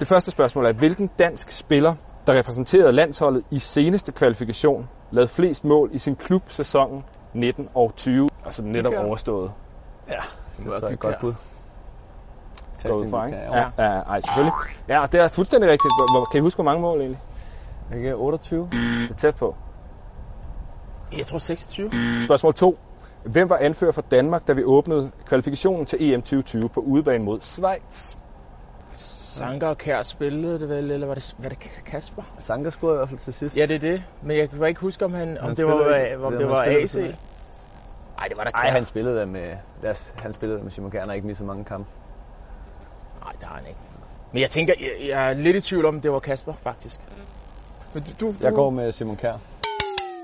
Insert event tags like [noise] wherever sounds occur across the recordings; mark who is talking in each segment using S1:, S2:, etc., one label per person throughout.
S1: Det første spørgsmål er, hvilken dansk spiller, der repræsenterede landsholdet i seneste kvalifikation, lavede flest mål i sin klub sæsonen 19 og 20, altså den netop
S2: Bygger.
S1: overstået?
S3: Ja, det var et
S2: Bygherre.
S3: godt bud.
S1: går jeg ud fra, ikke?
S3: Bygherre,
S1: Ja, ja, ej, selvfølgelig. Ja, og det er fuldstændig rigtigt. Hvor, hvor, kan I huske, hvor mange mål egentlig?
S3: Okay, 28.
S1: Det er tæt på.
S2: Jeg tror 26.
S1: Spørgsmål 2. Hvem var anfører for Danmark, da vi åbnede kvalifikationen til E EM 2020 på udebane mod Schweiz?
S2: Sanker og Kær spillede det vel, eller var det, var det Kasper?
S3: Sanka scorede i hvert fald til sidst.
S2: Ja, det er det. Men jeg kan bare ikke huske, om, han, om
S3: Han
S2: det var,
S3: spiller ikke.
S2: om
S3: Ved
S2: det
S3: om han
S2: var
S3: spiller
S2: AC.
S3: eller
S2: Nej, det var da
S3: Ej,
S2: Kjær.
S3: han spillede der med, lad os, han spillede der med Simon Gerner ikke lige så mange kampe.
S2: Nej, det har han ikke. Men jeg tænker, jeg, jeg er lidt i tvivl om, det var Kasper, faktisk. Men du, du,
S3: Jeg går med Simon Kjær.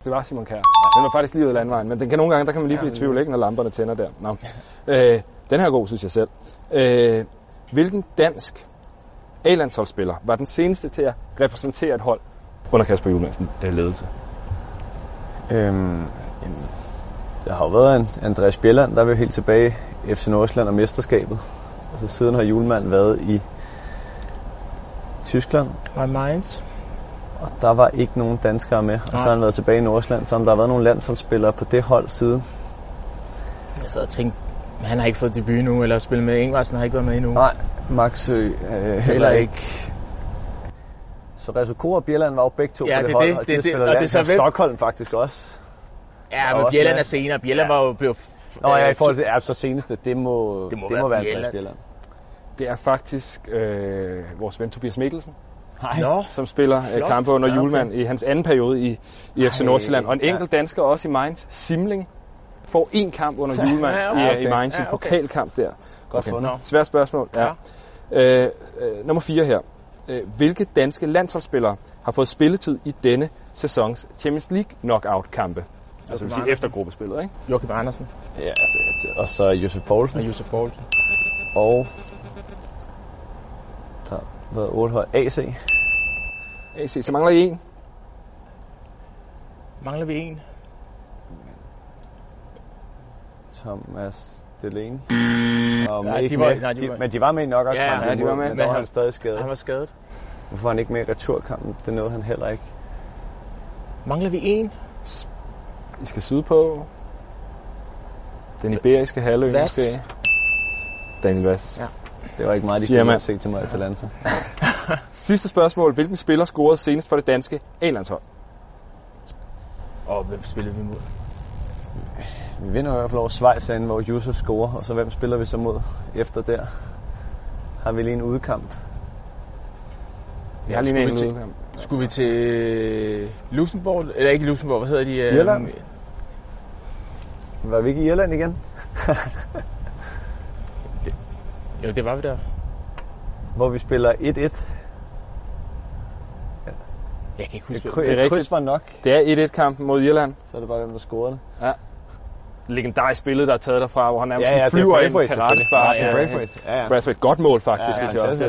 S1: Det var Simon Kjær. Den var faktisk lige ud af landvejen, men den kan nogle gange, der kan man lige
S3: Ja,
S1: blive i
S3: men-
S1: tvivl, ikke, når lamperne tænder der. Nå. Øh, den her er god, synes jeg selv. Øh, hvilken dansk A-landsholdsspiller var den seneste til at repræsentere et hold under Kasper Julmansen ledelse?
S3: Øhm, jamen, der har jo været en Andreas Bjelland, der er vi jo helt tilbage i FC Nordsjælland og mesterskabet. Og så siden har Julemand været i Tyskland,
S2: My Minds.
S3: og der var ikke nogen danskere med. Og så
S2: Nej.
S3: har han været tilbage i Nordsjælland, så har der har været nogle landsholdsspillere på det hold siden.
S2: Jeg sad og tænkte, men han har ikke fået debut nu, eller spillet med Ingvarsen har ikke været med endnu.
S3: Nej, Max Ø, øh, heller ikke. Så Rezoko og Bjelland var jo begge to
S2: Ja,
S3: på det,
S2: det er
S3: hold,
S2: det,
S3: og
S2: det
S3: de
S2: er det,
S3: har spillet
S2: og det er
S3: landshold.
S2: så hvem-
S3: Stockholm faktisk også.
S2: Ja,
S3: var
S2: men
S3: også
S2: Bjelland
S3: med.
S2: er senere. Bjelland var jo blevet... øh,
S3: Nå ja, i forhold til ja, så seneste, det må,
S2: Det
S3: det
S2: må
S3: må,
S2: være
S3: det må være
S2: Bjelland.
S3: Andreas Bjelland.
S1: Det er faktisk øh, vores ven Tobias Mikkelsen,
S3: Nej,
S2: Nå,
S1: som spiller øh,
S2: Flot.
S1: kampe under
S2: Ja, okay.
S1: Julemand i hans anden periode i, i FC
S3: Ej,
S1: Nordsjælland. Og en
S3: ja.
S1: enkelt dansker også i Mainz, Simling, får en kamp under Julemand
S2: [laughs] Ja,
S1: i,
S2: okay.
S1: øh, i Mainz, en
S2: Ja, okay.
S1: pokalkamp der.
S3: godt fundet.
S2: Nå.
S1: Svært spørgsmål. Ja. Øh, øh, nummer 4 her. Øh, hvilke danske landsholdsspillere har fået spilletid i denne sæsons Champions League knockout-kampe? Altså, det vil sige
S2: Andersen.
S1: eftergruppespillet, ikke?
S2: Joachim Andersen
S3: Ja, det- det- og så Josef Poulsen.
S2: og Josef Poulsen.
S3: Og der har været otte hold. AC.
S1: AC, Øh, så mangler I en.
S2: Mangler vi en?
S3: Thomas Delaney. Og
S2: Nej,
S3: nej, ikke
S2: Mm. de var-
S3: med.
S2: nej, de var-
S3: men de var med i nok
S2: Ja, ja,
S1: de var med.
S3: men
S2: Men
S3: der var
S2: han-
S3: han stadig skadet.
S2: Han var skadet.
S3: Hvorfor var han ikke med i returkampen? Det nåede han heller ikke.
S2: Mangler vi en?
S1: I skal syde på den iberiske halvø,
S2: Vas.
S1: måske. Daniel Vas.
S2: Ja.
S3: Det var ikke meget, de
S1: Fjerde
S3: kunne
S1: mand.
S3: se til mig i Atalanta.
S1: Sidste spørgsmål. Hvilken spiller scorede senest for det danske A-landshold?
S2: Og hvem spillede vi mod?
S3: Vi vinder i hvert fald over Schweiz herinde, hvor Josef scorer. Og så hvem spiller vi så mod efter der? Har vi lige en udkamp?
S1: Vi har lige
S2: skulle
S1: en
S2: vi til-
S1: enkelt udkamp.
S2: Skulle vi til Luxembourg? Eller ikke Luxembourg, hvad hedder de? øh,
S3: Irland. Var vi ikke i Irland igen?
S2: Jo, det var vi der.
S3: Hvor vi spiller 1-1.
S2: Jeg kan ikke
S3: Et,
S2: huske,
S3: kry-
S2: hvem-
S1: er
S3: et
S1: rigtigt.
S3: kryds var nok.
S1: Det er 1-1-kampen mod Irland.
S3: Så er det bare, hvem der scorede det.
S1: Legendarisk billede, der er taget derfra, hvor han nærmest ja, ja, flyver ind i karate
S3: Ja,
S1: til
S3: til Braithwaite. Ja, ja.
S1: Braithwaite, godt mål faktisk,
S3: Ja,
S1: synes
S3: ja,
S1: jeg også.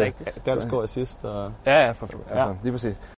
S3: Dansk scorede sidst, og
S1: Ja, ja, for, altså,
S3: Ja.
S1: lige præcis.